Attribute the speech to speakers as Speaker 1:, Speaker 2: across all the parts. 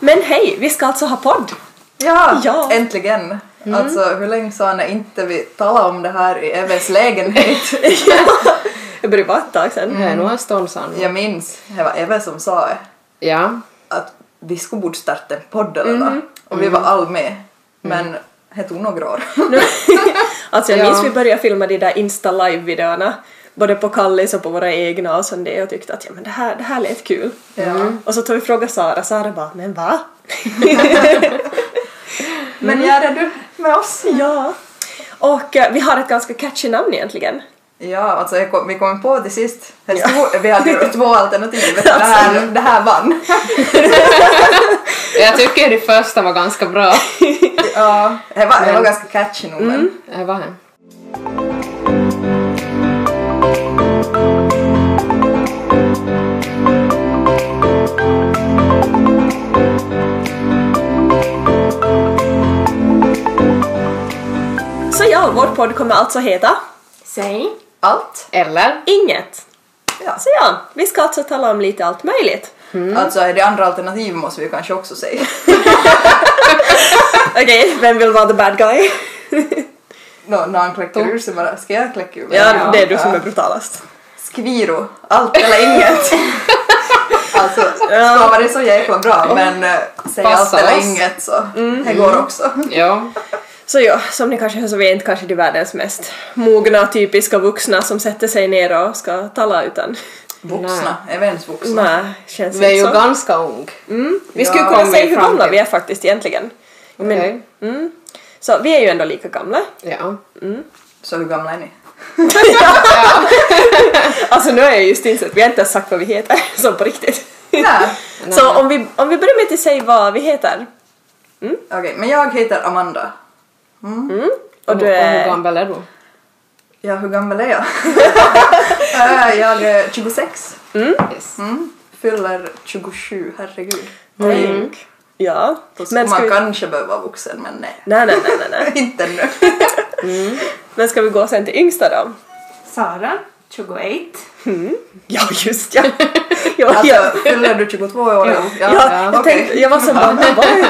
Speaker 1: Men hej, vi ska alltså ha podd!
Speaker 2: Ja,
Speaker 1: Ja.
Speaker 2: äntligen! Alltså hur länge sa när inte vi talade om det här i Eves lägenhet?
Speaker 1: Det började vara ett tag sedan.
Speaker 3: Det är nog en stund sedan.
Speaker 2: Jag minns, det var Eve som sa det,
Speaker 3: Ja.
Speaker 2: att vi skulle borde starta en podd eller vad? Och vi var all med. Men det tog några år.
Speaker 1: Nu- alltså jag
Speaker 3: Ja.
Speaker 1: minns vi började filma de där Insta live-videorna både på Kallis och på våra egna och sen det och tyckte att ja men det här, det här lät kul. Mm.
Speaker 2: Ja.
Speaker 1: Och så tog vi fråga Sara, Sara bara men va?
Speaker 2: Men gör det du med oss?
Speaker 1: ja. Och eh, vi har ett ganska catchy namn egentligen.
Speaker 2: Ja, alltså jag kom, vi kom på till sist. Det
Speaker 1: Ja.
Speaker 2: stod, vi hade ju två alternativ. Det här, det här vann.
Speaker 3: Jag tycker det första var ganska bra.
Speaker 2: Ja, Mm. det var, det var ganska catchy nog men.
Speaker 3: Äh, vad här?
Speaker 1: Så ja, vår podd kommer alltså heta
Speaker 3: Säg.
Speaker 2: Allt.
Speaker 3: Eller?
Speaker 1: Inget.
Speaker 2: Ja.
Speaker 1: Så ja, vi ska alltså tala om lite allt möjligt.
Speaker 2: Alltså är det andra alternativ måste vi kanske också säga.
Speaker 1: Okej, vem vill vara the bad guy?
Speaker 2: Nå, när han kläcker ur sig bara, ska jag kläcka ur mig?
Speaker 1: Ja, det är du som är brutalast.
Speaker 2: Skviro, allt eller inget. alltså, stavar det så jäkla bra men äh, säg allt
Speaker 3: Passa
Speaker 2: eller
Speaker 3: oss.
Speaker 2: inget så
Speaker 1: Mm.
Speaker 2: det går också.
Speaker 3: Ja.
Speaker 1: Så ja, som ni kanske hör så vi är inte kanske de världens mest mogna, typiska vuxna som sätter sig ner och ska tala utan...
Speaker 2: Vuxna, även ens vuxna.
Speaker 1: Nej, känns
Speaker 3: Du är
Speaker 1: inte
Speaker 3: ju
Speaker 1: så. Mm.
Speaker 3: ganska ung.
Speaker 1: Vi skulle
Speaker 2: Ja,
Speaker 1: kunna
Speaker 3: kommer
Speaker 1: säga hur
Speaker 3: fram
Speaker 1: gamla
Speaker 3: till.
Speaker 1: vi är faktiskt egentligen.
Speaker 3: Okej.
Speaker 1: Mm. Så vi är ju ändå lika gamla.
Speaker 3: Ja.
Speaker 2: Så hur gamla är ni?
Speaker 1: Alltså nu är jag just insett, vi har inte ens sagt vad vi heter, så på riktigt.
Speaker 2: Nej.
Speaker 1: Så om vi, om vi börjar med att säga vad vi heter.
Speaker 2: Okej, men jag heter Amanda.
Speaker 1: Och du
Speaker 3: hur
Speaker 1: är...
Speaker 3: gammal är du?
Speaker 2: Ja, hur gammal är jag? Äh, jag är 26.
Speaker 3: Yes.
Speaker 2: Mm. Fyller 27, herregud.
Speaker 1: Mm. Ja.
Speaker 2: Då skulle
Speaker 1: Men ska
Speaker 2: man
Speaker 1: vi...
Speaker 2: kanske behöva vara vuxen men nej.
Speaker 1: Nej, nej, nej, nej, nej.
Speaker 2: Inte nu.
Speaker 1: Men ska vi gå sen till yngsta då?
Speaker 4: Sara, 28.
Speaker 1: Ja, just ja. ja, ja.
Speaker 2: Alltså, fyller du 22 år?
Speaker 3: Ja.
Speaker 1: Ja, Mm. jag,
Speaker 2: okej.
Speaker 1: tänkte, jag var så bara, vad var det?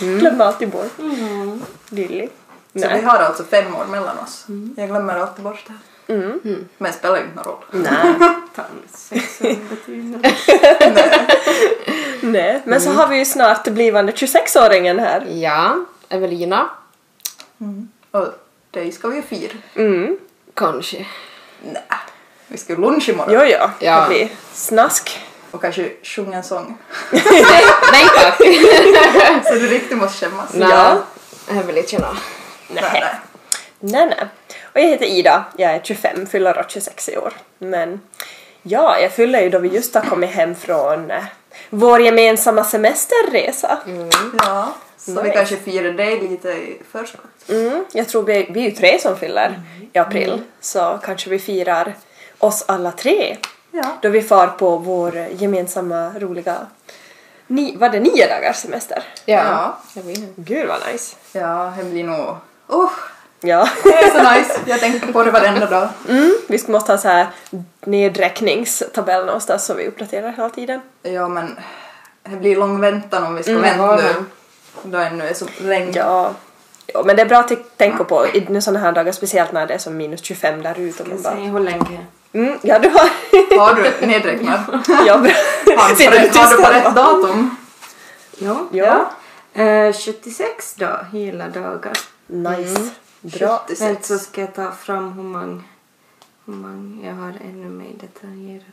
Speaker 1: Glömmer alltid bort. Mm. Lilly.
Speaker 2: Så vi
Speaker 1: Nej.
Speaker 2: har alltså fem år mellan oss. Jag glömmer alltid bort det.
Speaker 1: Mm.
Speaker 2: Men det spelar ju inte någon roll.
Speaker 1: Nej. Nej. Mm. Men så har vi ju snart blivande 26-åringen här.
Speaker 3: Ja. Evelina?
Speaker 2: Och det ska vi ju fira.
Speaker 3: Kanske.
Speaker 2: Nej. Vi ska ju lunch imorgon
Speaker 1: Jo, jo.
Speaker 3: Ja.
Speaker 1: Det blir snask.
Speaker 2: och kanske sjunga en sång.
Speaker 3: nej, nej tack.
Speaker 2: Så du riktigt måste skämmas.
Speaker 3: Nej.
Speaker 1: Ja.
Speaker 3: Jag vill inte känna.
Speaker 1: Nej. Nej, nej. Och jag heter Ida. Jag är 25, fyller år 26 i år. Men ja, jag fyller ju då vi just har kommit hem från eh, vår gemensamma semesterresa.
Speaker 2: Ja. Så vi
Speaker 1: Nice.
Speaker 2: kanske firar dig lite i förskott.
Speaker 1: Mm, jag tror vi, vi är ju tre som fyller i april, så kanske vi firar oss alla tre
Speaker 2: Ja.
Speaker 1: då vi far på vår gemensamma roliga, ni, var det nio dagars semester?
Speaker 3: Ja.
Speaker 2: Ja.
Speaker 3: Jag vill.
Speaker 1: Gud vad nice!
Speaker 2: Ja, det blir nog... Oh,
Speaker 1: Ja,
Speaker 2: det är så nice. Jag tänker på det varenda dag.
Speaker 1: vi ska- måste ha så här nedräkningstabell någonstans som vi uppdaterar hela tiden.
Speaker 2: Ja, men det blir lång väntan om vi ska
Speaker 1: Mm.
Speaker 2: vänta
Speaker 3: vad
Speaker 2: nu. Då ännu är så länge.
Speaker 1: Ja. ja, men det är bra att tänka på i nu sådana här dagar, speciellt när det är som minus 25 där ute. och man bara,
Speaker 4: Säg hur länge.
Speaker 1: Mm, ja, du har...
Speaker 2: Har du nedräknad?
Speaker 1: ja, bra.
Speaker 2: Har du på
Speaker 1: Sitter du
Speaker 2: rätt- har du
Speaker 1: tyst
Speaker 2: på
Speaker 1: där?
Speaker 2: rätt datum?
Speaker 4: Ja.
Speaker 1: Ja,
Speaker 4: Eh, 76 då, hela dagar.
Speaker 1: nice.
Speaker 2: Mm.
Speaker 1: Bra.
Speaker 2: 76.
Speaker 4: Sen så ska jag ta fram hur många hur många jag har ännu mer detaljerat.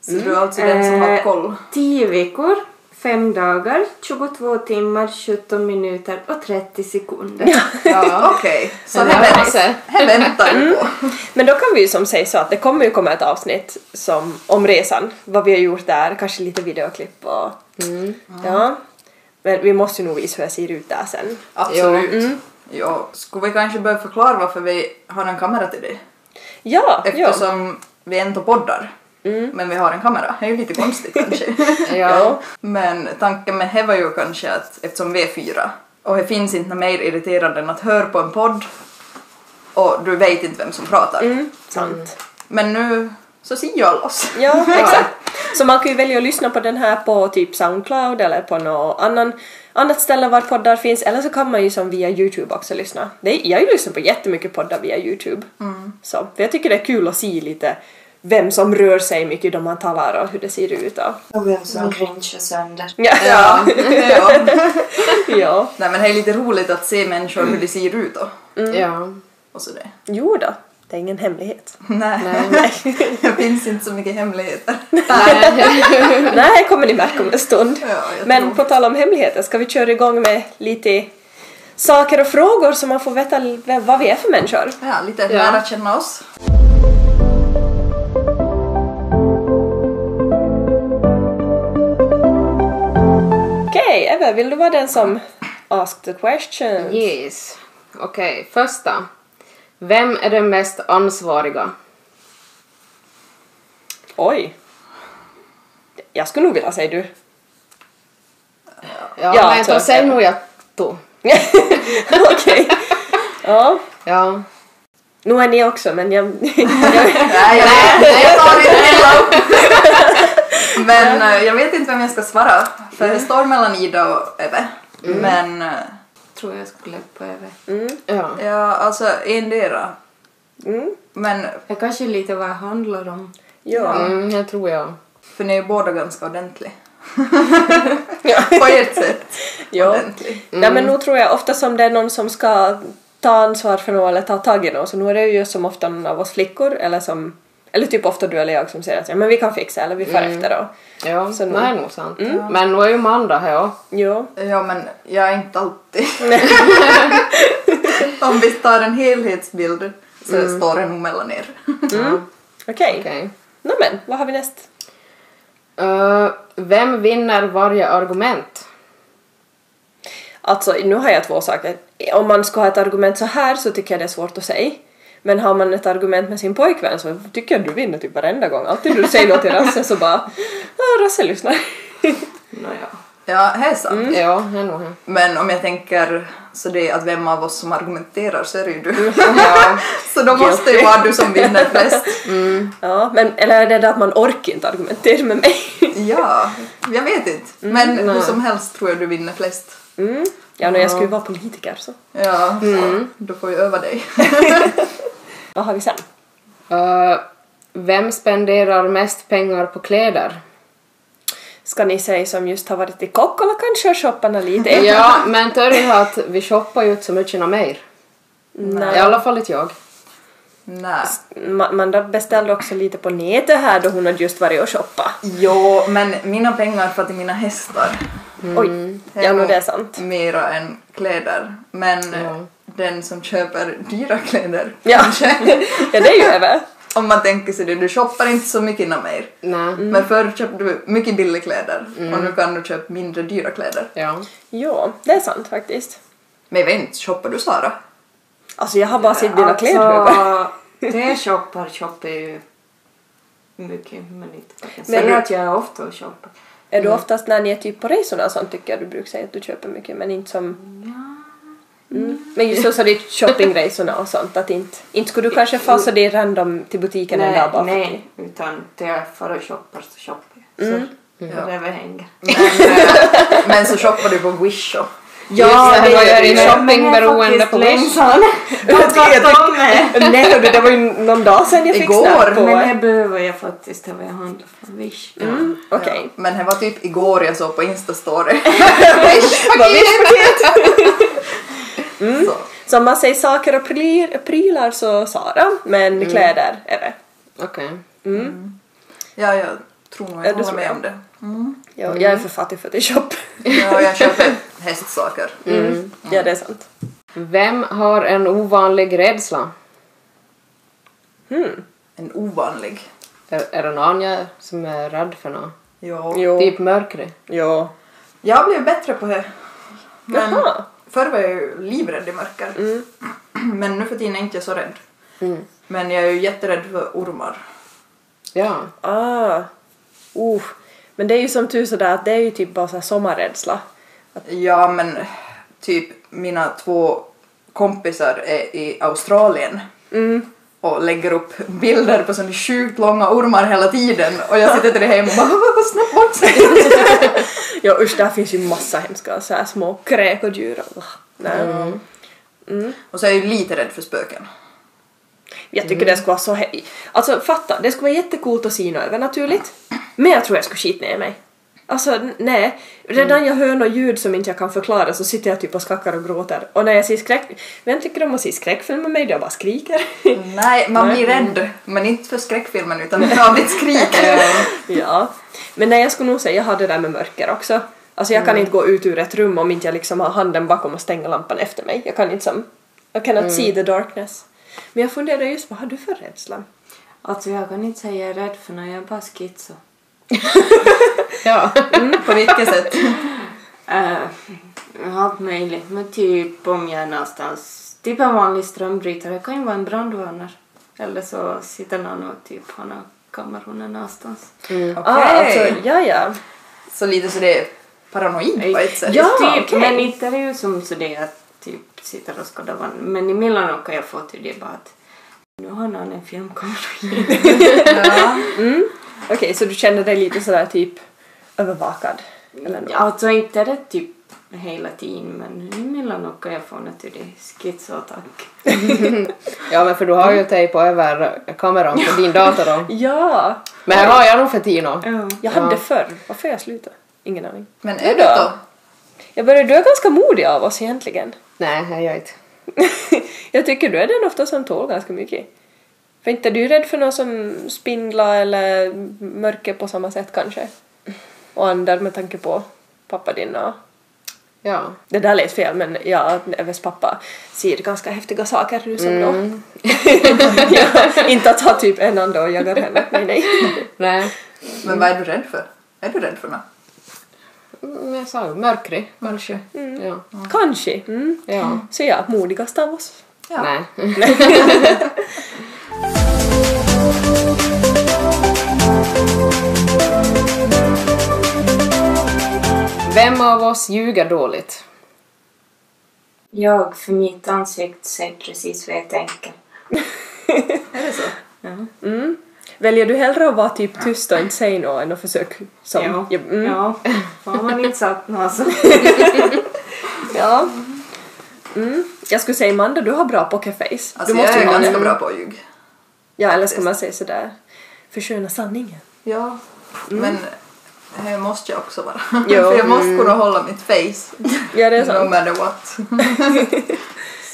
Speaker 2: Så du är alltså den som har
Speaker 4: Eh,
Speaker 2: koll?
Speaker 4: 10 veckor, 5 dagar, 22 timmar, 17 minuter och 30 sekunder.
Speaker 2: Ja, Mm. okej. Så
Speaker 3: det
Speaker 2: här,
Speaker 3: var
Speaker 2: vänt,
Speaker 3: det.
Speaker 2: här väntar vi på.
Speaker 1: Men då kan vi ju som säga så att det kommer ju komma ett avsnitt som, om resan, vad vi har gjort där, kanske lite videoklipp och ja. Men vi måste ju nog visa hur jag ser ut där sen.
Speaker 2: Absolut. Ja, skulle vi kanske börja förklara varför vi har en kamera till dig?
Speaker 1: Ja, ja.
Speaker 2: Eftersom vi ändå poddar. Men vi har en kamera. Det är ju lite konstigt kanske.
Speaker 3: Ja.
Speaker 2: Men tanken med det var ju kanske att eftersom vi är fyra och det finns inte något mer irriterande än att höra på en podd och du Mm. vet inte vem som pratar.
Speaker 1: Sant.
Speaker 2: Men nu så ser ju alla oss.
Speaker 1: Ja, exakt. Så man kan ju välja att lyssna på den här på typ Soundcloud eller på något annan, annat ställe var poddar finns eller så kan man ju som via Youtube också lyssna. Det är, jag har ju lyssnat på jättemycket poddar via Youtube.
Speaker 5: Mm.
Speaker 1: Så, för jag tycker det är kul att se lite vem som rör sig mycket då man talar och hur det ser ut. Och.
Speaker 5: Och vem som grinchar sönder.
Speaker 1: Ja.
Speaker 2: Ja, ja.
Speaker 1: ja.
Speaker 2: Nej men det är lite roligt att se människor hur de ser ut och,
Speaker 1: Mm.
Speaker 3: Ja.
Speaker 2: och så det.
Speaker 1: Jo då, det är ingen hemlighet.
Speaker 2: Nej.
Speaker 3: Nej.
Speaker 2: Det finns inte så mycket hemligheter.
Speaker 1: Nej, kommer ni märka om en stund.
Speaker 2: Ja, jag
Speaker 1: Men på tal om hemligheter, ska vi köra igång med lite saker och frågor så man får veta l- vem- vad vi är för människor?
Speaker 2: Ja, lite
Speaker 3: Ja.
Speaker 2: lära känna oss.
Speaker 1: Okej, Ebbe, vill du vara den som ask the question?
Speaker 3: Yes. Okej, första. Vem är den mest ansvariga?
Speaker 1: Oj. Jag skulle nog vilja säga du.
Speaker 3: Ja, typ.
Speaker 1: Ja,
Speaker 3: men då
Speaker 1: alltså,
Speaker 3: säger nog jag då.
Speaker 1: Okej. Ja.
Speaker 3: Ja.
Speaker 1: Nu är ni också, men jag...
Speaker 2: Nej, jag, nej, jag tar inte heller upp. Men eh, jag vet inte vem jag ska svara. För det står mellan Ida och Eve. Men eh,
Speaker 4: Tror jag skulle på över.
Speaker 3: Ja.
Speaker 2: ja, alltså endera.
Speaker 1: Mm.
Speaker 2: Men
Speaker 4: Jag kanske lite vad det handlar om.
Speaker 1: Ja.
Speaker 3: Mm, jag tror jag.
Speaker 2: för ni är båda ganska ordentlig.
Speaker 1: Ja.
Speaker 2: På ert sätt.
Speaker 1: ja.
Speaker 2: Ordentlig.
Speaker 1: Nej men nog tror jag ofta som det är någon som ska ta ansvar för något eller ta tag i något så nu är det ju som ofta någon av oss flickor eller som eller typ ofta du eller jag som säger att ja, men vi kan fixa eller vi far efter då.
Speaker 3: Ja,
Speaker 1: Så
Speaker 3: så
Speaker 1: nu-
Speaker 3: det är nog sant. Men nu är ju Manda här.
Speaker 1: Jo.
Speaker 2: Ja, men jag är inte alltid. Om vi tar en helhetsbild så står det nog mellan er.
Speaker 1: Okej.
Speaker 3: Okej.
Speaker 1: Nå men, vad har vi näst?
Speaker 3: Eh, vem vinner varje argument?
Speaker 1: Alltså nu har jag två saker. Om man ska ha ett argument så här så tycker jag det är svårt att säga. Men har man ett argument med sin pojkvän så tycker jag du vinner typ varenda gång. Alltid du säger något till Rasse så bara ja, Rasse lyssnar.
Speaker 3: Nåja.
Speaker 2: Ja, här är sant.
Speaker 3: Ja, det är nog han.
Speaker 2: Men om jag tänker så det är att vem av oss som argumenterar så är det ju du.
Speaker 3: Ja.
Speaker 2: så då måste det vara du som vinner flest.
Speaker 1: Ja, men eller är det det att man orkar inte argumentera med mig?
Speaker 2: Ja, jag vet inte. Men hur som helst tror jag du vinner flest.
Speaker 1: Mm. Ja, nu jag skulle ju vara politiker så.
Speaker 2: Ja, då får jag öva dig.
Speaker 1: Vad har vi sen?
Speaker 3: Eh, vem spenderar mest pengar på kläder?
Speaker 1: Ska ni säga som just har varit i Kokkola kanske och shopparna lite?
Speaker 3: Ja, men Töri har att vi shoppar ju inte så mycket nå mer. I
Speaker 1: Nej.
Speaker 3: alla fall inte jag.
Speaker 2: Nej.
Speaker 1: Ma- Manda beställde också lite på nätet här då hon hade just varit och shoppat.
Speaker 2: Jo, men mina pengar för till mina hästar.
Speaker 1: Oj, Mm. ja nu det är sant.
Speaker 2: Mera än kläder. Men
Speaker 3: Ja.
Speaker 2: den som köper dyra kläder
Speaker 1: Ja.
Speaker 2: kanske.
Speaker 1: Ja, det är ju över.
Speaker 2: Om man tänker sig det, du shoppar inte så mycket inom mer.
Speaker 3: Nej.
Speaker 1: Mm.
Speaker 2: Men förr köpte du mycket billiga kläder och nu kan du köpa mindre dyra kläder.
Speaker 3: Ja.
Speaker 1: Ja, det är sant faktiskt.
Speaker 2: Men jag vet inte, shoppar du Sara?
Speaker 1: Alltså jag har bara sett dina kläder.
Speaker 4: Alltså, det shoppar shoppar ju mycket men inte jag kan
Speaker 1: Men
Speaker 4: säga
Speaker 1: du-
Speaker 4: att jag är ofta och shoppar.
Speaker 1: Är du oftast när ni är typ på resorna och sånt tycker jag du brukar säga att du köper mycket men inte som... Mm. Men just så, så det är shoppingresorna och sånt att inte... Inte skulle du kanske få så det är random till butiken en dag
Speaker 4: Nej,
Speaker 1: bara för-
Speaker 4: nej, utan det jag far och shoppar så shoppar jag. Så
Speaker 1: Mm.
Speaker 4: det överhänger.
Speaker 2: Men, eh, men så shoppar du på Wish och...
Speaker 3: Ja,
Speaker 1: Just
Speaker 3: det
Speaker 1: det,
Speaker 3: gör ju
Speaker 1: men-
Speaker 3: shoppingberoende på Wish.
Speaker 4: Tvärtom!
Speaker 1: Nej hördu, det var ju någon dag sedan jag fick
Speaker 2: Igår,
Speaker 1: snabbt på.
Speaker 4: Men det behöver jag faktiskt ha vad jag handlar från Wish.
Speaker 1: Mm, Okej.
Speaker 2: Ja, men det var typ igår jag såg på Insta-story.
Speaker 1: Vad vill du? Mm.
Speaker 2: Så.
Speaker 1: Så om man säger saker och pryl- prylar så Sara, men kläder är det.
Speaker 3: Okej.
Speaker 2: Ja, jag tror nog
Speaker 1: Ja,
Speaker 2: jag
Speaker 1: du
Speaker 2: håller
Speaker 1: tror
Speaker 2: med
Speaker 1: det.
Speaker 2: om det.
Speaker 1: Jag, jag är för fattig för att shop.
Speaker 2: Ja, jag köper hästsaker.
Speaker 1: Ja, det är sant.
Speaker 3: Vem har en ovanlig rädsla?
Speaker 2: En ovanlig.
Speaker 3: Är, är det någon jag som är rädd för något?
Speaker 2: Ja.
Speaker 1: Jo.
Speaker 3: Typ mörkret?
Speaker 1: Jo.
Speaker 2: Jag blev bättre på det. Men
Speaker 1: Jaha. Mm.
Speaker 2: förr var jag ju livrädd i mörker. Men nu för tiden är inte jag så rädd. Men jag är ju jätterädd för ormar.
Speaker 3: Ja.
Speaker 1: Ah. Uh. Men det är ju som tur sådär att det är ju typ bara så här sommarrädsla.
Speaker 2: Ja, men
Speaker 1: Mm.
Speaker 2: typ mina två kompisar är i Australien. och lägger upp bilder på såna sjukt långa ormar hela tiden och jag sitter till det hemma och bara vad snabbt bort sig.
Speaker 1: Ja usch, där finns ju massa hemska så här små kräk och djur. och- Nej.
Speaker 2: Och så är jag ju lite rädd för spöken.
Speaker 1: Jag tycker det skulle vara så he- Alltså fatta, det skulle vara jättecoolt att se något övernaturligt. Men jag tror jag skulle skita ner mig. Alltså n- nej, redan jag hör något ljud som inte jag kan förklara så sitter jag typ och skakar och gråter. Och när jag ser skräck... Vem tycker om att se skräckfilmer med mig då jag bara skriker?
Speaker 2: Nej, man blir rädd. Men inte för skräckfilmen utan för ditt skrik.
Speaker 1: ja. Men nej, jag skulle nog säga jag har det där med mörker också. Alltså jag kan inte gå ut ur ett rum om inte jag liksom har handen bakom och stänger lampan efter mig. Jag kan inte som... I cannot see the darkness. Men jag funderar just, vad har du för rädsla?
Speaker 4: Alltså jag kan inte säga jag är rädd för när jag är bara schizo. Mm.
Speaker 3: Ja.
Speaker 2: På vilket sätt?
Speaker 4: Eh, allt möjligt, men typ om jag är någonstans, typ en vanlig strömbrytare, det kan ju vara en brandvarnare. Eller så sitter någon och typ har någon kammarhona någonstans.
Speaker 2: Okej.
Speaker 1: Ah, alltså, ja, ja.
Speaker 2: Så lite så det är paranoid på ett sätt.
Speaker 1: Ja,
Speaker 4: typ,
Speaker 1: okej.
Speaker 4: Men inte är det ju som så det att typ sitter och skådar varandra. Men emellanåt kan jag få till det bara att nu har någon en filmkamera.
Speaker 2: Ja.
Speaker 1: Okej, så du känner dig lite sådär typ övervakad? Eller något?
Speaker 4: Alltså inte är det typ hela tiden men emellanåt kan jag få något till det. Schizoattack.
Speaker 3: ja, men för du har ju tejp över kameran på din dator då.
Speaker 1: Ja!
Speaker 3: Men här har jag nog för Tino.
Speaker 4: Ja.
Speaker 1: Jag hade förr. Varför jag slutade? Ingen aning.
Speaker 2: Men är det då?
Speaker 1: Jag börjar, du är ganska modig av oss egentligen.
Speaker 3: Nej, jag gör inte.
Speaker 1: jag tycker du är den ofta som tål ganska mycket. För inte är du rädd för någon som spindlar eller mörker på samma sätt kanske? Och andar med tanke på pappa din och...
Speaker 3: Ja.
Speaker 1: Det där lät fel men ja, Eves pappa ser ganska häftiga saker nu som
Speaker 2: Mm.
Speaker 1: då. ja, inte att ha typ en ande och jagar henne. Nej, nej.
Speaker 3: Nej.
Speaker 1: Mm.
Speaker 2: Men vad är du rädd för? Är du rädd för något?
Speaker 3: Mm, Jag sa ju mörkrig kanske. Ja.
Speaker 1: Kanske. Mm.
Speaker 3: Ja.
Speaker 1: Så ja, modigast av oss.
Speaker 2: Ja.
Speaker 3: Nej. Vem av oss ljuger dåligt?
Speaker 5: Jag för mitt ansikte säger precis vad jag tänker.
Speaker 2: Är det så?
Speaker 1: Väljer du hellre att vara typ tyst och inte säga något än att försöka som...
Speaker 4: Ja.
Speaker 1: Ja. Mm. ja.
Speaker 4: Ja, har man inte alltså. sagt något så.
Speaker 1: Mm. Jag skulle säga Amanda, du har bra pokerface.
Speaker 2: Alltså
Speaker 1: du måste
Speaker 2: jag är
Speaker 1: ju ha
Speaker 2: ganska
Speaker 1: det.
Speaker 2: bra på att ljuga.
Speaker 1: Ja, eller ska man säga sådär försköna sanningen.
Speaker 2: Ja. Men här måste jag också vara.
Speaker 1: Mm. Jo.
Speaker 2: För jag måste kunna hålla mitt face.
Speaker 1: Ja, det är
Speaker 2: No
Speaker 1: sant. Mm.
Speaker 2: matter what.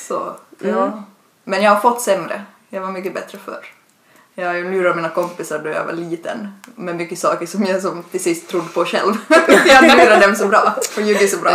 Speaker 2: så, ja. Men jag har fått sämre. Jag var mycket bättre förr. Jag har ju lurat mina kompisar då jag var liten med mycket saker som jag som till sist trodde på själv. jag lurar dem så bra och ljuger så bra.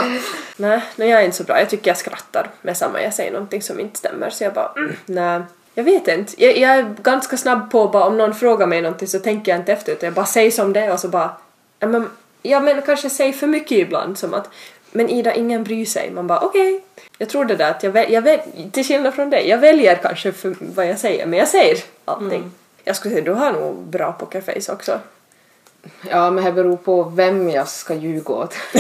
Speaker 1: Nej, nej, jag är inte så bra. Jag tycker jag skrattar med samma jag säger någonting som inte stämmer. Så jag bara, mm, nej. Jag vet inte. Jag, jag är ganska snabb på bara om någon frågar mig någonting så tänker jag inte efter utan jag bara säger som det är och så bara, ja men, ja, men kanske säger för mycket ibland som att men Ida, ingen bryr sig. Man bara okej. Jag tror det där att jag, väl, jag väl, till skillnad från dig, jag väljer kanske för vad jag säger men jag säger allting. Jag skulle säga du har nog bra pokerface också.
Speaker 3: Ja, men det beror på vem jag ska ljuga åt.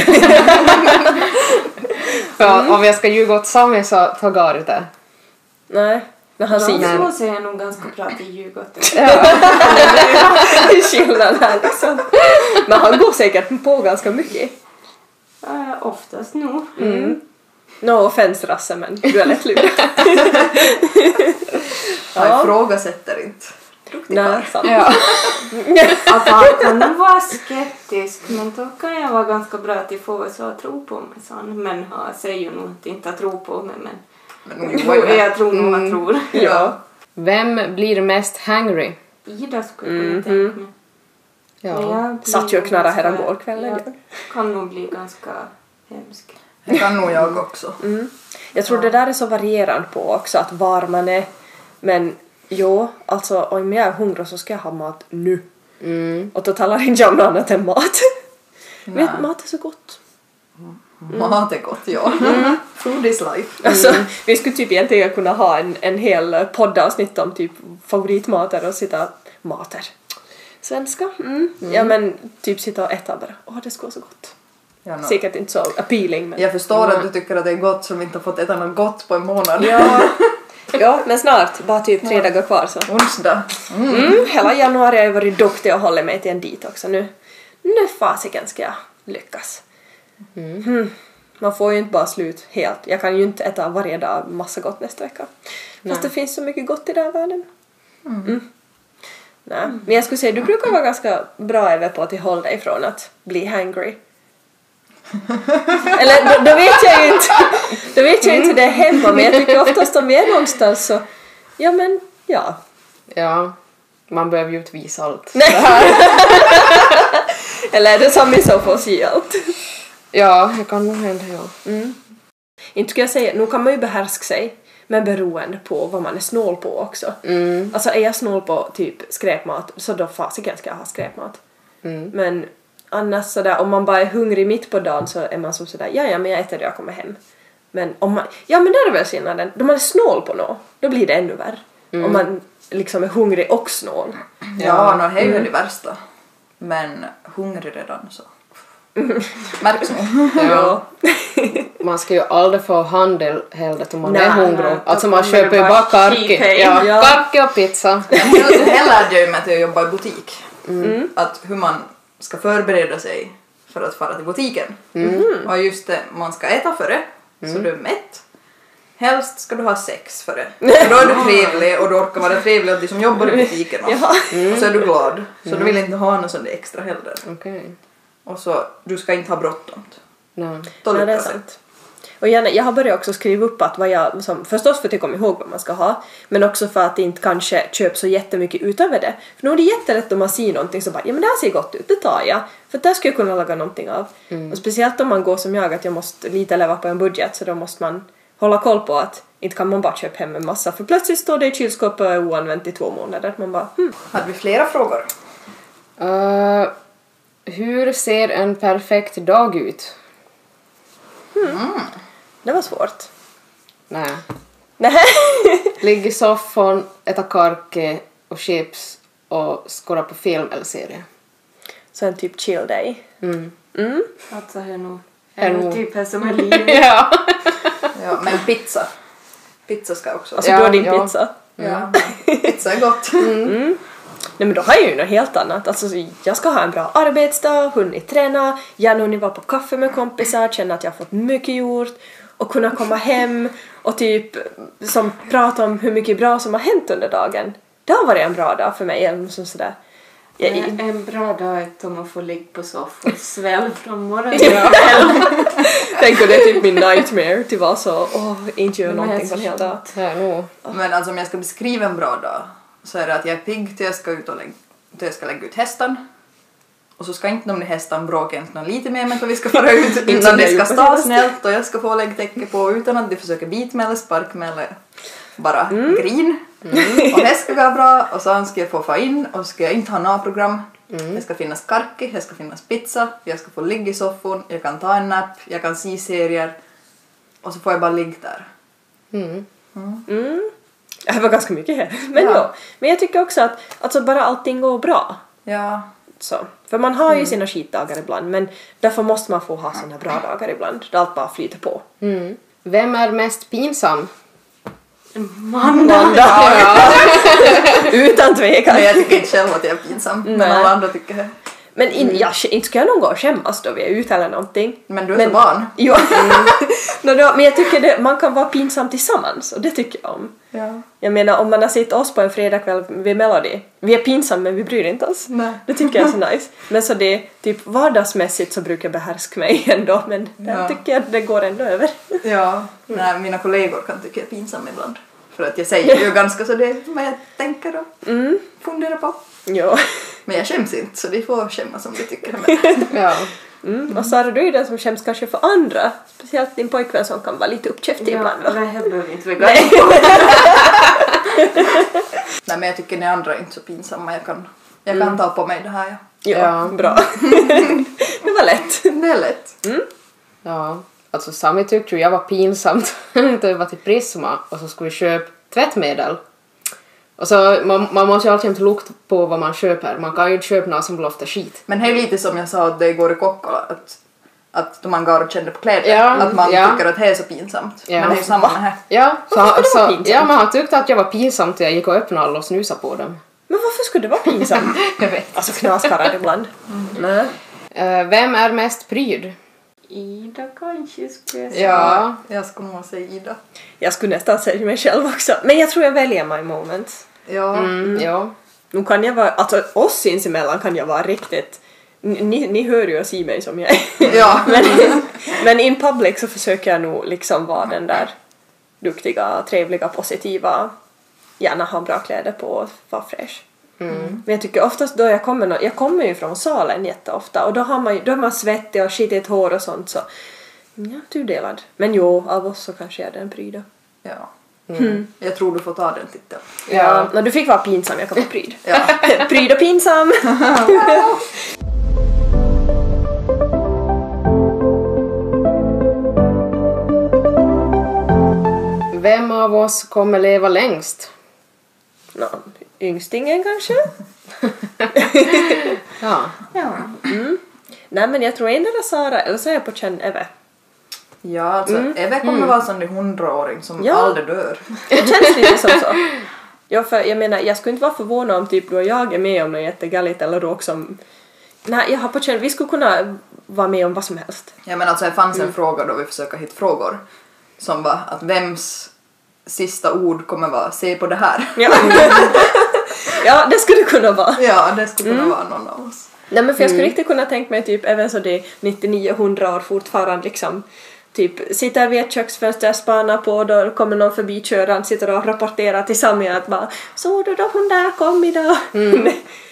Speaker 3: För om jag ska ljuga åt Sami så tar Gary det.
Speaker 1: Nej, när han
Speaker 4: Så
Speaker 1: säger
Speaker 4: så är jag nog ganska bra till Djurgården.
Speaker 1: Det är skillnad här liksom. Men han går säkert på ganska mycket.
Speaker 4: Äh, oftast nog. Mm.
Speaker 1: No offense Rasse men du är lätt lurad.
Speaker 2: Jag ifrågasätter inte.
Speaker 1: Nej, sant.
Speaker 3: Ja.
Speaker 4: Alltså han kan nog vara skeptisk men då kan jag vara ganska bra till att få så att tro på mig. sa han. Men han säger ju nog att inte att tro på mig men
Speaker 2: Men hon
Speaker 4: jo,
Speaker 2: ljuger ju.
Speaker 4: jag tror nog han tror.
Speaker 1: Ja.
Speaker 3: Vem blir mest hangry?
Speaker 4: Ida skulle jag kunna tänka mig. Men jag blir
Speaker 1: Satt ju och knarrade
Speaker 4: ganska-
Speaker 1: här om vårkvällen,
Speaker 4: Jag kan nog bli ganska hemsk.
Speaker 2: Det kan nog jag också.
Speaker 1: Mm. Jag tror det där är så varierande på också att var man är. Men jo, alltså om jag är hungrig så ska jag ha mat nu. Och då talar inte jag om något annat än mat. Men mat är så gott.
Speaker 2: Mat är gott, ja. Food is life.
Speaker 1: Alltså, vi skulle typ egentligen kunna ha en, en hel poddavsnitt om typ favoritmater och sitta mater. Svenska? Mm. Ja men typ sitta och äta bara. Åh det skulle vara så gott.
Speaker 2: Ja, nå.
Speaker 1: Säkert inte så appealing men.
Speaker 2: Jag förstår att du tycker att det är gott som inte har fått äta något gott på en månad.
Speaker 1: Mm. Ja. Ja, men snart. Bara typ tre dagar kvar så.
Speaker 2: Onsdag. Mm.
Speaker 1: Mm, hela januari har jag varit duktig och hållit mig till en dit också nu. Nu fasiken ska jag lyckas. Mm. Man får ju inte bara slut helt. Jag kan ju inte äta varje dag massa gott nästa vecka. Fast det finns så mycket gott i den här världen. Mm. Nej. Men jag skulle säga du brukar vara ganska bra över på att hålla dig från att bli hangry. Eller då, då vet jag ju inte. Då vet jag ju inte hur det är hemma men jag tycker oftast om vi är någonstans så ja men ja.
Speaker 3: Ja, man behöver ju inte visa allt.
Speaker 1: Eller är det som i så fall allt?
Speaker 3: Ja, det kan nog hända ja.
Speaker 1: Inte ska jag säga, nu kan man ju behärska sig. Men beroende på vad man är snål på också.
Speaker 3: Mm.
Speaker 1: Alltså är jag snål på typ skräpmat så då fasiken ska jag ha skräpmat.
Speaker 3: Mm.
Speaker 1: Men annars sådär, om man bara är hungrig mitt på dagen så är man som sådär, ja ja men jag äter det jag kommer hem. Men om man, ja men där är väl skillnaden, då man är snål på något, då blir det ännu värre. Om man liksom är hungrig och snål.
Speaker 2: Ja, nå det är
Speaker 1: Mm.
Speaker 2: ju det värsta. Men hungrig redan så.
Speaker 1: Mm.
Speaker 2: Märks nog.
Speaker 1: Ja.
Speaker 3: Man ska ju aldrig få handel heller om man
Speaker 1: Nej,
Speaker 3: är hungrig.
Speaker 4: nej,
Speaker 3: Alltså
Speaker 4: då
Speaker 3: man
Speaker 4: kommer det
Speaker 3: köper ju
Speaker 4: bara
Speaker 3: bara karki.
Speaker 4: cheap aid.
Speaker 3: Ja,
Speaker 1: Ja.
Speaker 3: karki och pizza.
Speaker 2: Det lärde jag ju mig att jag jobbar i butik.
Speaker 1: Mm.
Speaker 2: Att hur man ska förbereda sig för att fara till butiken.
Speaker 1: Mm.
Speaker 2: Och just det, man ska äta före, så du är mätt. Helst ska du ha sex före. För då är du trevlig och du orkar vara trevlig åt de som jobbar i butiken. Och,
Speaker 1: Mm.
Speaker 2: och så är du glad. Så du vill inte ha något sånt där extra heller.
Speaker 3: Okej.
Speaker 2: Och så, du ska inte ha bråttom.
Speaker 3: Nej.
Speaker 2: Då
Speaker 1: Ja, det är
Speaker 2: lyckas det.
Speaker 1: sant. Och gärna, jag har börjat också skriva upp att vad jag, som, förstås för att jag kommer ihåg vad man ska ha, men också för att inte kanske köpa så jättemycket utöver det. För nu är det jättelätt om man ser någonting så bara ja men det här ser gott ut, det tar jag. För det här skulle jag kunna laga någonting av.
Speaker 3: Mm.
Speaker 1: Och speciellt om man går som jag att jag måste lite leva på en budget så då måste man hålla koll på att inte kan man bara köpa hem en massa för plötsligt står det i kylskåpet och är oanvänt i två månader. Man bara hmm.
Speaker 2: Hade vi flera frågor?
Speaker 3: Eh, hur ser en perfekt dag ut?
Speaker 1: Det var svårt.
Speaker 3: Nej.
Speaker 1: Nej.
Speaker 3: Ligg i soffan, äta karki och chips och skåra på film eller serie.
Speaker 1: Så en typ chill day.
Speaker 3: Mm.
Speaker 1: Mm.
Speaker 4: Alltså det är nog, det
Speaker 3: Är
Speaker 4: är
Speaker 3: nog.
Speaker 4: nog typ det som är livet.
Speaker 3: Ja.
Speaker 2: Ja, men pizza. Pizza ska också.
Speaker 1: Alltså mm.
Speaker 3: Ja,
Speaker 1: du har din
Speaker 3: ja.
Speaker 1: pizza.
Speaker 2: Ja, pizza är gott.
Speaker 1: Nej men då har jag ju något helt annat. Alltså jag ska ha en bra arbetsdag, hunnit träna, gärna hunnit vara på kaffe med kompisar, känna att jag har fått mycket gjort och kunna komma hem och typ som, prata om hur mycket bra som har hänt under dagen. Det har varit en bra dag för mig. Eller som sådär. Jag,
Speaker 4: Men En bra dag är om att få ligga på soffan och svälla från morgonen.
Speaker 1: tänker det är typ min nightmare, typ vara så åh, inte göra
Speaker 4: Men det är
Speaker 1: någonting
Speaker 4: så
Speaker 1: på en hel
Speaker 4: skönt.
Speaker 1: dag.
Speaker 3: Ja, nog.
Speaker 2: Men alltså om jag ska beskriva en bra dag så är det att jag är pigg till jag ska ut och lägga, till jag ska lägga ut hästen. Och så ska inte de där hästen bråka ens någon lite mer men för vi ska fara ut utan
Speaker 1: jag
Speaker 2: det ska
Speaker 1: gjort på
Speaker 2: stå snällt och jag ska få läggtäcke på utan att de försöker bita mig eller sparka mig eller bara grin. Och det ska vara bra och sen ska jag få få in och ska jag inte ha några program. Det ska finnas karki, det ska finnas pizza, jag ska få ligga i soffan, jag kan ta en nap, jag kan se serier och så får jag bara ligga där.
Speaker 3: Mm.
Speaker 1: Det var ganska mycket här. Men
Speaker 2: Ja.
Speaker 1: ja. Men jag tycker också att alltså, bara allting går bra.
Speaker 2: Ja,
Speaker 1: Så. För man har
Speaker 2: Mm.
Speaker 1: ju sina skitdagar ibland men därför måste man få ha såna bra dagar ibland då allt bara flyter på.
Speaker 3: Mm. Vem är mest pinsam?
Speaker 4: Måndag!
Speaker 1: Utan
Speaker 2: Men
Speaker 1: tvekan!
Speaker 2: jag tycker inte själv att jag är pinsam. Men
Speaker 1: Nej.
Speaker 2: alla andra tycker det.
Speaker 1: Men in, ja, sh- inte ska jag någon gång skämmas då vi är ute eller någonting.
Speaker 2: Mm. Men du är så Mm. van.
Speaker 1: Jo. Nå då, men jag tycker det, man kan vara pinsam tillsammans och det tycker jag om.
Speaker 2: Ja.
Speaker 1: Jag menar om man har sett oss på en fredagkväll vid Melody, vi är pinsamma men vi bryr inte oss.
Speaker 2: Nej.
Speaker 1: Det tycker jag är så nice. Men så det, typ vardagsmässigt så brukar jag behärska mig ändå men där
Speaker 2: Ja.
Speaker 1: tycker jag att det går ändå över.
Speaker 2: ja. Nej, mina kollegor kan tycka jag är pinsam ibland. För att jag säger ju ganska så det vad jag tänker och
Speaker 3: Mm.
Speaker 2: funderar på.
Speaker 1: Jo.
Speaker 2: Men jag skäms inte så de får skämmas om de tycker det.
Speaker 3: Ja.
Speaker 1: Mm. Och Sara, du är ju den som känns kanske för andra. Speciellt din pojkvän som kan vara lite uppkäftig
Speaker 4: Ja,
Speaker 1: ibland.
Speaker 4: det
Speaker 1: Va?
Speaker 4: här behöver inte vi gå in
Speaker 2: Nej men jag tycker ni andra är inte så pinsamma. Jag kan, jag kan
Speaker 3: Mm.
Speaker 2: ta på mig det här.
Speaker 1: Ja,
Speaker 2: Ja.
Speaker 3: Ja.
Speaker 1: bra. det var lätt.
Speaker 2: Det är lätt.
Speaker 3: Ja, alltså Sami tyckte ju jag var pinsamt när jag var till Prisma och så skulle vi köpa tvättmedel. Och så, man, man måste ju alltid lukta på vad man köper, man kan ju inte köpa något som luktar skit.
Speaker 2: Men det är lite som jag sa att det går i Kokkola. Att att man går och känner på kläder.
Speaker 3: Ja,
Speaker 2: att man
Speaker 3: ja.
Speaker 2: tycker att det är så pinsamt.
Speaker 3: Ja.
Speaker 2: Men det är ju samma här.
Speaker 3: Ja, så,
Speaker 1: ska
Speaker 3: han,
Speaker 1: det vara
Speaker 3: så,
Speaker 1: pinsamt?
Speaker 3: ja, men han tyckte att jag var pinsam till jag gick och öppnade alla och snusade på dem.
Speaker 1: Men varför skulle det vara pinsamt?
Speaker 2: Jag vet.
Speaker 1: Alltså knaskarrar ibland. Nej.
Speaker 3: Eh, vem är mest pryd?
Speaker 4: Ida kanske skulle jag säga.
Speaker 3: Ja.
Speaker 2: Jag skulle nog säga Ida.
Speaker 1: Jag skulle nästan säga mig själv också. Men jag tror jag väljer my moment.
Speaker 2: Ja.
Speaker 3: Mm, ja.
Speaker 1: Nu kan jag vara, alltså oss sinsemellan kan jag vara riktigt, ni, ni hör ju och ser mig som jag är.
Speaker 2: Ja.
Speaker 1: Men, men in public så försöker jag nog liksom vara den där duktiga, trevliga, positiva, gärna ha bra kläder på och vara fräsch.
Speaker 2: Mm.
Speaker 1: Men jag tycker oftast då jag kommer, nå- jag kommer ju från salen jätteofta och då, har man, ju- då är man svettig och skitigt hår och sånt så Mm, ja, tudelad. Men jo, av oss så kanske jag är den pryda.
Speaker 2: ja.
Speaker 3: Mm.
Speaker 2: Jag tror du får ta den titeln.
Speaker 1: Ja, men du fick vara pinsam, jag kan vara pryd.
Speaker 2: Ja.
Speaker 1: pryd och pinsam!
Speaker 3: Vem av oss kommer leva längst?
Speaker 1: Nå, yngstingen kanske?
Speaker 3: Ja.
Speaker 4: ja.
Speaker 1: Nej men jag tror endera Sara eller så är jag på känn Eve.
Speaker 2: Ja, alltså
Speaker 3: Mm.
Speaker 2: Eve kommer vara som den hundraåring som
Speaker 1: Ja.
Speaker 2: aldrig dör.
Speaker 1: Det känns lite som så. Jag, för, jag menar, jag skulle inte vara förvånad om typ du och jag är med om något jättegalligt eller råk som... Nej, jag har på känn, vi skulle kunna vara med om vad som helst.
Speaker 2: Ja men alltså det fanns
Speaker 3: Mm.
Speaker 2: en fråga då vi försöker hitta frågor som var att vems sista ord kommer vara se på det här.
Speaker 1: Ja, ja det skulle kunna vara.
Speaker 2: Ja, det skulle
Speaker 3: Mm.
Speaker 2: kunna vara någon av oss.
Speaker 1: Nej men för jag skulle riktigt kunna tänka mig typ även så det är 9900 år fortfarande liksom typ sitter vid ett köksfönster spanar på och då kommer någon förbi köran sitter och rapporterar till Sami att bara såg du då hon där kom idag?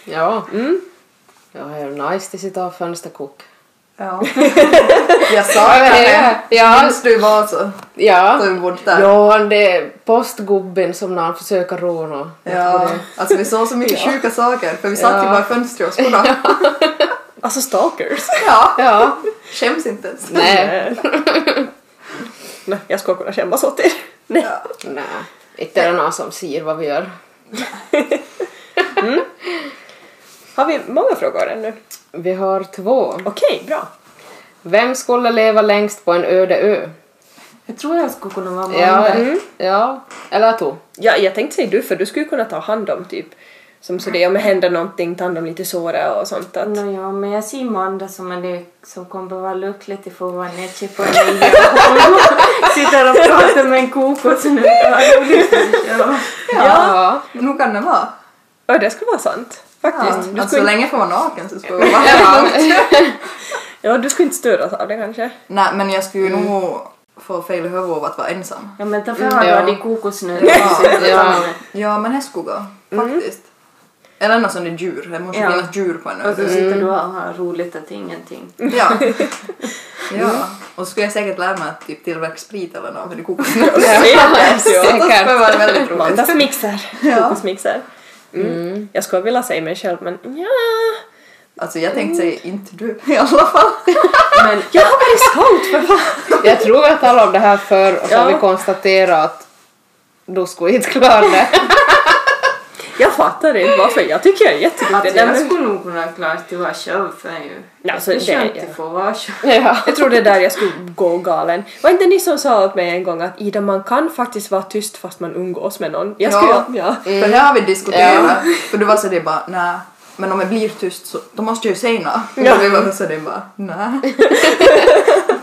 Speaker 3: Ja. Ja, är det nice att sitta och fönsterkok.
Speaker 2: Ja. jag sa ju det.
Speaker 3: Ja.
Speaker 2: Minns du vad alltså? så?
Speaker 3: Ja.
Speaker 2: Tog vi bort där.
Speaker 3: Ja, det är postgubben som när han försöker råna.
Speaker 2: Ja, alltså vi såg så mycket sjuka saker för vi satt ju
Speaker 3: Ja.
Speaker 2: bara i fönstret och skodde.
Speaker 1: Alltså stalkers.
Speaker 2: Ja,
Speaker 3: Ja.
Speaker 2: skäms inte ens.
Speaker 3: Nej.
Speaker 1: Nej, jag skulle kunna skämmas åt er. Nej.
Speaker 2: Ja.
Speaker 3: Nej. Inte är det någon som ser vad vi gör.
Speaker 1: Har vi många frågor ännu?
Speaker 3: Vi har två.
Speaker 1: Okej, bra.
Speaker 3: Vem skulle leva längst på en öde ö?
Speaker 4: Jag tror jag skulle kunna vara
Speaker 3: Ja.
Speaker 4: måndag.
Speaker 3: Ja. Eller två.
Speaker 1: Ja, jag tänkte säga du för du skulle kunna ta hand om typ som så det om det händer någonting ta hand om lite såra och sånt att
Speaker 4: Nå, ja, men jag ser Manda som en lek som kommer vara lycklig till att få vara nere på en ö och honom. Sitter och pratar med en kokos nu. Ja.
Speaker 3: Ja.
Speaker 2: Nu kan det vara.
Speaker 1: ja, det skulle vara sant.
Speaker 2: Ja.
Speaker 1: Faktiskt.
Speaker 2: Alltså, så länge jag får vara naken så ska jag vara
Speaker 1: Ja, du skulle inte störas av det kanske.
Speaker 2: Nej men jag skulle ju nog få fel i huvudet av att vara ensam.
Speaker 4: Mm. ja men därför har jag
Speaker 3: ja.
Speaker 4: varit kokos nu.
Speaker 3: Ja.
Speaker 2: Ja men det skulle gå, faktiskt. Eller något sånt där djur, det måste
Speaker 4: Ja. Alltså. Mm.
Speaker 2: finnas djur på en
Speaker 4: Och så
Speaker 2: ö.
Speaker 4: sitter du och har roligt att ingenting.
Speaker 2: Ja. ja. Och så skulle jag säkert lära mig att typ tillverka sprit eller något för det kokar.
Speaker 1: Säkert! ja.
Speaker 2: Det skulle vara väldigt roligt.
Speaker 1: Måndagsmixer. Kokosmixer. Mm. Jag skulle vilja säga mig själv men ja.
Speaker 2: Alltså jag tänkte säga inte du i alla fall.
Speaker 4: Men
Speaker 1: Jag har varit scout för fan!
Speaker 3: Jag tror vi har talat om det här förr och så har
Speaker 1: Ja.
Speaker 3: vi konstaterat att då skulle vi inte klara det.
Speaker 1: Jag fattar inte varför. Jag tycker jag är
Speaker 4: att
Speaker 1: jätteduktig. Nej,
Speaker 4: jag
Speaker 1: men-
Speaker 4: skulle nog kunna klara till att vara själv för ju.
Speaker 1: Ja, så
Speaker 4: Jag skulle
Speaker 1: det-
Speaker 4: skönt
Speaker 1: ja.
Speaker 4: att få vara själv.
Speaker 3: Ja.
Speaker 1: Jag tror det är där jag skulle gå galen. Var inte ni som sa åt mig en gång att Ida man kan faktiskt vara tyst fast man umgås med någon? Jag skulle,
Speaker 2: Ja.
Speaker 1: ja. ja.
Speaker 2: För det har vi diskuterat. För du var så det bara nej. Men om jag blir tyst så då måste jag ju säga något.
Speaker 1: Ja.
Speaker 2: Och vi var så det bara nej.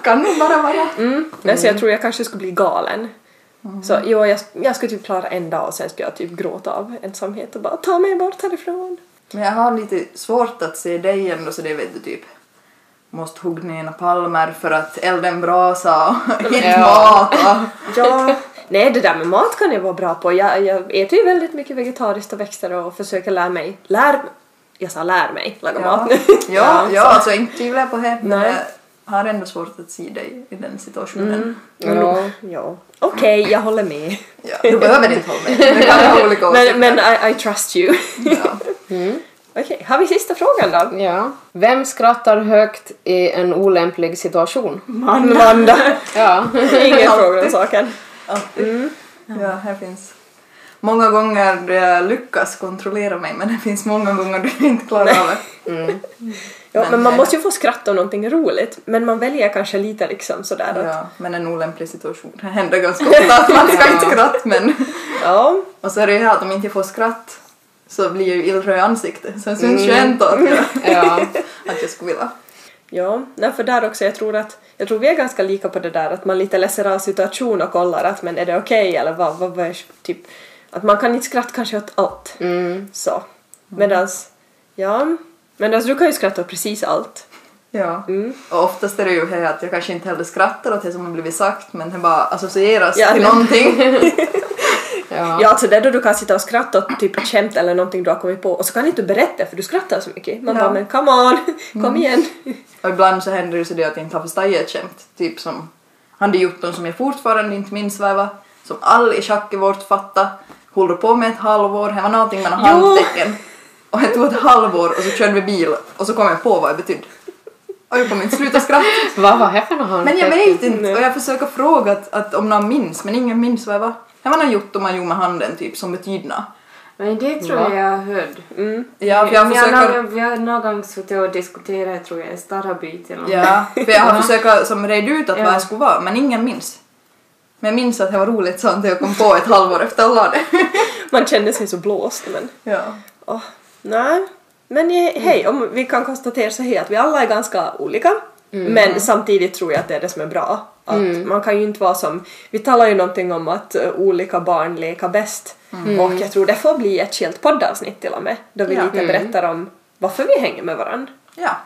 Speaker 2: kan nog bara vara.
Speaker 1: Nej, så jag tror jag kanske skulle bli galen. Så jo, jag, jag skulle typ klara en dag och sen skulle jag typ gråta av ensamhet och bara ta mig bort härifrån.
Speaker 2: Men jag har lite svårt att se dig ändå så det vet du typ. Måste hugga ner några palmer för att elda en brasa och hitta
Speaker 3: Ja.
Speaker 2: mat och...
Speaker 1: Ja. Nej, det där med mat kan jag vara bra på. Jag, jag äter ju väldigt mycket vegetariskt och växter och försöker lära mig. Lär... Jag sa lär mig laga mat nu.
Speaker 2: Ja, ja, ja alltså inte tvivlar jag på det. Men
Speaker 1: Nej.
Speaker 2: jag har ändå svårt att se dig i den situationen.
Speaker 3: Ja.
Speaker 1: ja. Okej, jag håller med.
Speaker 2: Ja, du behöver inte hålla med. Du kan ha olika åsikter.
Speaker 1: Men, men I, I trust you.
Speaker 2: Ja.
Speaker 1: Okej, har vi sista frågan då?
Speaker 3: ja. Vem skrattar högt i en olämplig situation?
Speaker 1: Amanda.
Speaker 3: Ja.
Speaker 1: Ingen fråga om saken.
Speaker 2: Alltid. Ja, här finns många gånger då jag lyckas kontrollera mig men det finns många gånger då jag inte klarar av det.
Speaker 1: Ja, men,
Speaker 2: Men
Speaker 1: man
Speaker 2: nej.
Speaker 1: måste ju få skratta om någonting roligt. Men man väljer kanske lite liksom sådär att...
Speaker 2: Ja, men en olämplig situation. Det händer ganska ofta att man ska inte skratta men...
Speaker 1: Ja.
Speaker 2: Och så är det ju här att om inte jag får skratt så blir jag ju illröd i ansiktet. Sen syns ju ändå att jag,
Speaker 3: Ja.
Speaker 2: att jag skulle vilja.
Speaker 1: Ja, nej, för där också, jag tror att jag tror vi är ganska lika på det där att man lite läser av situation och kollar att men är det okej eller vad, vad, vad är, typ att man kan inte skratta kanske åt allt. Så. Medans, ja, medans du kan ju skratta åt precis allt.
Speaker 2: Ja. Och oftast är det ju här att jag kanske inte heller skrattar åt det som har blivit sagt men det bara associeras
Speaker 1: Ja,
Speaker 2: till
Speaker 1: men-
Speaker 2: någonting.
Speaker 1: Ja.
Speaker 3: Ja.
Speaker 1: alltså det är då du kan sitta och skratta åt typ ett skämt eller någonting du har kommit på och så kan inte du berätta för du skrattar så mycket. Man
Speaker 2: Ja.
Speaker 1: bara men come on, kom igen.
Speaker 2: Och ibland så händer det så det att jag inte har förstått ett skämt. Typ som han det gjort som jag fortfarande inte minns vad det var. Som all i schack i vårt fatta håller på med ett halvår. Det var någonting mellan
Speaker 1: Ja.
Speaker 2: handtecken. Och det tog ett halvår och så körde vi bil och så kom jag på vad det betydde. Och jag kommer inte sluta skratta.
Speaker 3: Vad var det för något
Speaker 2: Men jag
Speaker 3: handtecken?
Speaker 2: vet inte och jag försöker fråga att, att om någon minns men ingen minns vad det var. Det var något gjort om man gjorde med handen typ som betyder något.
Speaker 4: Men det tror
Speaker 3: Ja.
Speaker 4: jag jag hörde.
Speaker 2: Ja, för jag
Speaker 4: Vi har
Speaker 2: försöker,
Speaker 4: någon- vi har någon gång suttit och diskuterat, tror jag, en starrabit eller något.
Speaker 2: ja, för jag har försökt som reda ut att
Speaker 4: Ja.
Speaker 2: vad det skulle vara men ingen minns. Men jag minns att det var roligt sånt och jag kom på ett halvår efter alla det.
Speaker 1: Man känner sig så blåst men.
Speaker 2: Ja.
Speaker 1: Åh, nej. Men eh, hej, om vi kan konstatera så här att vi alla är ganska olika. Men samtidigt tror jag att det är det som är bra. Att Man kan ju inte vara som, vi talar ju någonting om att eh, olika barn leker bäst. Och jag tror det får bli ett skilt poddavsnitt till och med. Då vi
Speaker 2: Ja.
Speaker 1: lite berättar om varför vi hänger med varandra.
Speaker 2: ja.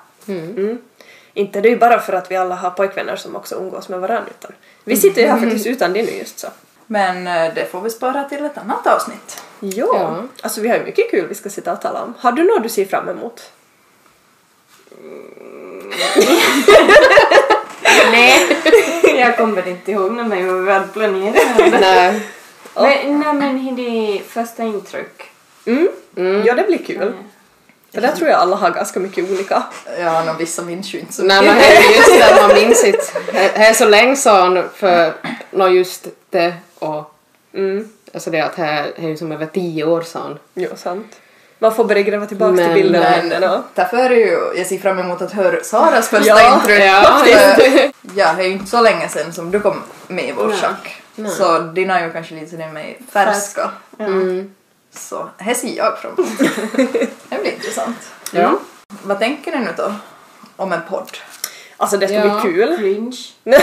Speaker 1: Inte det är ju bara för att vi alla har pojkvänner som också umgås med varandra. Utan vi sitter ju här faktiskt utan det nu just så.
Speaker 2: Men eh, det får vi spara till ett annat avsnitt.
Speaker 1: Ja.
Speaker 3: Ja.
Speaker 1: alltså vi har ju mycket kul vi ska sitta och tala om. Har du något du ser fram emot?
Speaker 4: Nej, jag kommer inte ihåg när vi var väl planerade.
Speaker 3: Nej.
Speaker 4: Men, nej men det är första intryck.
Speaker 1: Mm. Ja, det blir kul.
Speaker 4: Mm.
Speaker 1: För där tror jag alla har ganska mycket olika.
Speaker 2: Ja, no, vissa minns ju inte så
Speaker 3: Nej, men det är just det, man minns inte. Det det är så länge sedan för nå just det och
Speaker 1: Mm.
Speaker 3: alltså det att det här det är ju som över tio år sedan.
Speaker 1: Jo, sant. Man får börja gräva tillbaka
Speaker 3: Men-
Speaker 1: till bilden.
Speaker 2: Men
Speaker 1: Men, ja.
Speaker 2: därför är det ju, jag ser fram emot att höra Saras första
Speaker 1: Ja,
Speaker 2: intro.
Speaker 3: ja,
Speaker 2: För- ja, det är ju inte så länge sedan som du kom med i vår schack. Så dina är ju kanske lite mer mig färska.
Speaker 4: Mm.
Speaker 2: Så här ser jag fram emot. det blir intressant.
Speaker 3: Ja.
Speaker 2: Vad tänker ni nu då? Om en podd?
Speaker 1: Alltså det ska
Speaker 3: Ja.
Speaker 1: bli kul.
Speaker 4: Cringe.
Speaker 3: Ja,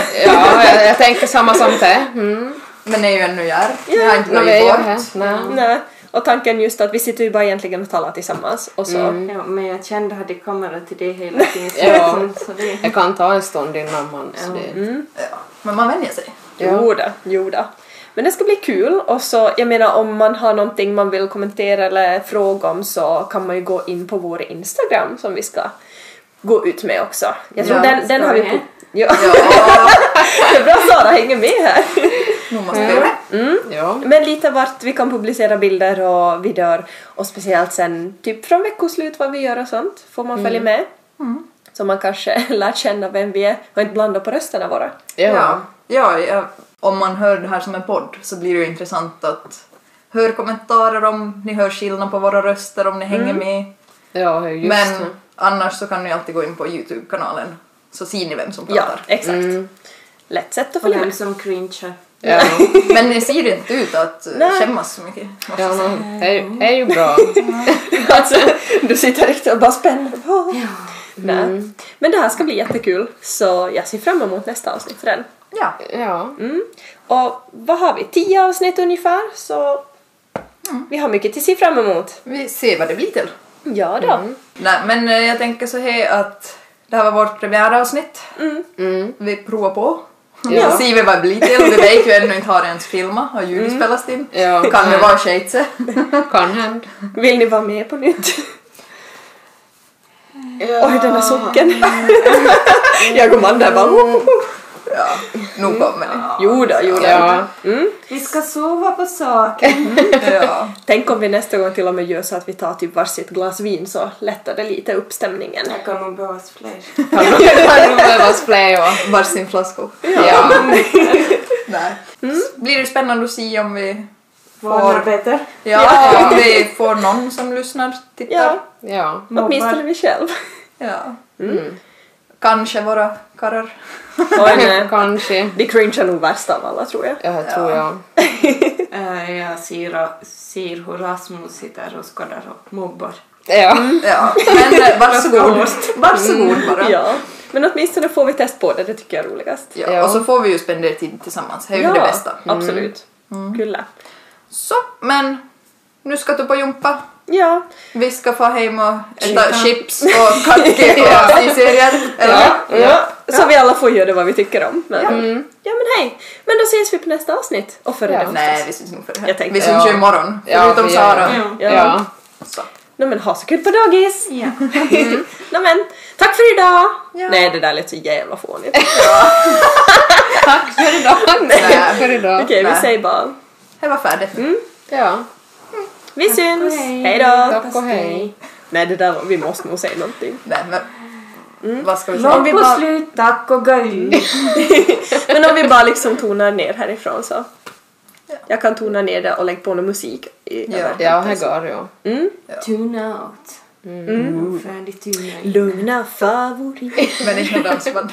Speaker 3: jag, jag tänker samma som det. Mm.
Speaker 2: Men ni är ju ännu här. Ni har inte
Speaker 3: Nå, vi är
Speaker 2: varit
Speaker 3: ju
Speaker 2: bort.
Speaker 3: här. Nej.
Speaker 1: Nej. Och tanken just att vi sitter ju bara egentligen och talar tillsammans och så.
Speaker 4: Ja, men jag kände att det kommer till det hela tiden.
Speaker 3: Ja.
Speaker 4: Så det...
Speaker 3: Jag kan ta en stund innan man... Så det,
Speaker 2: Ja, men man vänjer sig.
Speaker 1: Jo då, jo då. Men det ska bli kul och så, jag menar om man har någonting man vill kommentera eller fråga om så kan man ju gå in på vår Instagram som vi ska gå ut med också. Jag tror
Speaker 2: Ja,
Speaker 1: den, den
Speaker 4: ska
Speaker 1: har vi
Speaker 4: vi?
Speaker 1: på... Ja,
Speaker 2: Ja,
Speaker 1: det är bra Sara hänger med här.
Speaker 2: nu måste vi göra
Speaker 3: ja.
Speaker 1: Men lite vart vi kan publicera bilder och videor och speciellt sen typ från veckoslut vad vi gör och sånt får man följa med. Så man kanske lär känna vem vi är och inte blanda på rösterna våra.
Speaker 2: Ja.
Speaker 3: ja.
Speaker 2: Ja, ja, om man hör det här som en podd så blir det ju intressant att höra kommentarer om ni hör skillnad på våra röster om ni hänger med.
Speaker 3: Ja, just
Speaker 2: Men
Speaker 3: det.
Speaker 2: annars så kan ni alltid gå in på Youtube-kanalen så ser ni vem som
Speaker 1: Ja, mm.
Speaker 2: pratar.
Speaker 1: exakt. Lätt sätt att
Speaker 4: Och
Speaker 1: följa
Speaker 4: vem
Speaker 1: med.
Speaker 4: som cringear.
Speaker 3: Ja,
Speaker 2: Men ni ser inte ut att eh,
Speaker 1: Nej.
Speaker 2: skämmas så mycket. måste
Speaker 3: ja
Speaker 2: jag säga.
Speaker 3: no, det, är, ju- det är ju bra.
Speaker 1: Alltså, du sitter riktigt och bara spänner. Ja. Mm. Nej. Men det här ska bli jättekul så jag ser fram emot nästa avsnitt för den.
Speaker 2: Ja.
Speaker 3: Ja.
Speaker 1: Mm. Och vad har vi? Tio avsnitt ungefär så vi har mycket att se fram emot.
Speaker 2: Vi ser vad det blir till.
Speaker 1: Ja då.
Speaker 2: Nej, men eh, jag tänker så här att det här var vårt premiäravsnitt. Vi provar på.
Speaker 3: Mm. Ja.
Speaker 2: Så ser vi vad det blir till. Vi vet ju ännu inte har det ens filmat och ljudet spelats in.
Speaker 3: Ja.
Speaker 2: Kan det vara shitse?
Speaker 3: Kan hända.
Speaker 1: Vill ni vara med på nytt? Oj, den där socken. jag går man där bara... "Woop, woop."
Speaker 2: Ja, nog kommer det.
Speaker 1: Jo då, jo då.
Speaker 3: Ja.
Speaker 4: Vi ska sova på saker.
Speaker 2: Ja.
Speaker 1: Tänk om vi nästa gång till och med gör så att vi tar typ varsitt glas vin så lättar det lite upp stämningen.
Speaker 4: Jag kommer behövas fler.
Speaker 3: Kan nog behövas fler ja.
Speaker 2: Varsin flaska.
Speaker 3: Ja.
Speaker 2: Nej.
Speaker 3: Mm.
Speaker 2: Blir det spännande att se om vi får,
Speaker 4: Barnarbete.
Speaker 2: ja, om vi får någon som lyssnar, tittar.
Speaker 1: Ja,
Speaker 3: Ja. Mm.
Speaker 1: åtminstone vi själv.
Speaker 2: Ja. Mm. Kanske våra karrar.
Speaker 1: Oj,
Speaker 3: eh.
Speaker 1: nej.
Speaker 3: Kanske.
Speaker 1: Det cringear nog värst av alla tror jag.
Speaker 3: Ja, det tror jag.
Speaker 4: Eh, Jag ser, ser hur Rasmus sitter och skadar och mobbar.
Speaker 3: Ja.
Speaker 2: Ja. Men eh, varsågod. Varsågod bara.
Speaker 1: Ja. Men åtminstone får vi test på det, det tycker jag är roligast.
Speaker 2: Ja, och så får vi ju spendera tid tillsammans, det är ju det bästa.
Speaker 1: absolut. Kyllä.
Speaker 2: Så, men nu ska du på jumpa.
Speaker 1: Ja,
Speaker 2: Vi ska få hem och äta chips och kakor och serier. Eller?
Speaker 1: ja. Så vi alla får göra det vad vi tycker om. Men, ja. men hej! Men då ses vi på nästa avsnitt. Och före
Speaker 3: Ja.
Speaker 1: det förstås.
Speaker 2: Nej, vi syns nog för det
Speaker 1: Jag
Speaker 2: här.
Speaker 1: tänkte-
Speaker 2: Vi syns ju
Speaker 3: Ja.
Speaker 2: imorgon,
Speaker 3: Ja,
Speaker 2: förutom
Speaker 3: vi gör
Speaker 2: Sara.
Speaker 3: det.
Speaker 1: Ja.
Speaker 3: ja.
Speaker 2: Så.
Speaker 1: Nå men ha så kul på dagis!
Speaker 4: Ja.
Speaker 1: Nå men, tack för idag!
Speaker 2: Ja.
Speaker 1: Nej, det där lät så jävla fånigt.
Speaker 3: Tack för idag. Tack för idag.
Speaker 1: Okej, vi
Speaker 2: Nej.
Speaker 1: säger bara
Speaker 2: Det var färdigt.
Speaker 3: Ja.
Speaker 1: vi syns!
Speaker 4: hej.
Speaker 1: Hej då!
Speaker 3: Tack och hej.
Speaker 1: Nej, det där var, vi måste nog säga någonting.
Speaker 2: Nej, men, Vad ska vi säga?
Speaker 4: Lång på slut, tack och gulligt.
Speaker 1: Men om vi bara liksom tonar ner härifrån så. Jag kan tona ner det och lägga på någon musik. I,
Speaker 2: Ja.
Speaker 1: över.
Speaker 3: Ja, här går jag.
Speaker 4: Tune out. Mm. Färdig tune out.
Speaker 1: Lugna favorit.
Speaker 2: Människa dansband.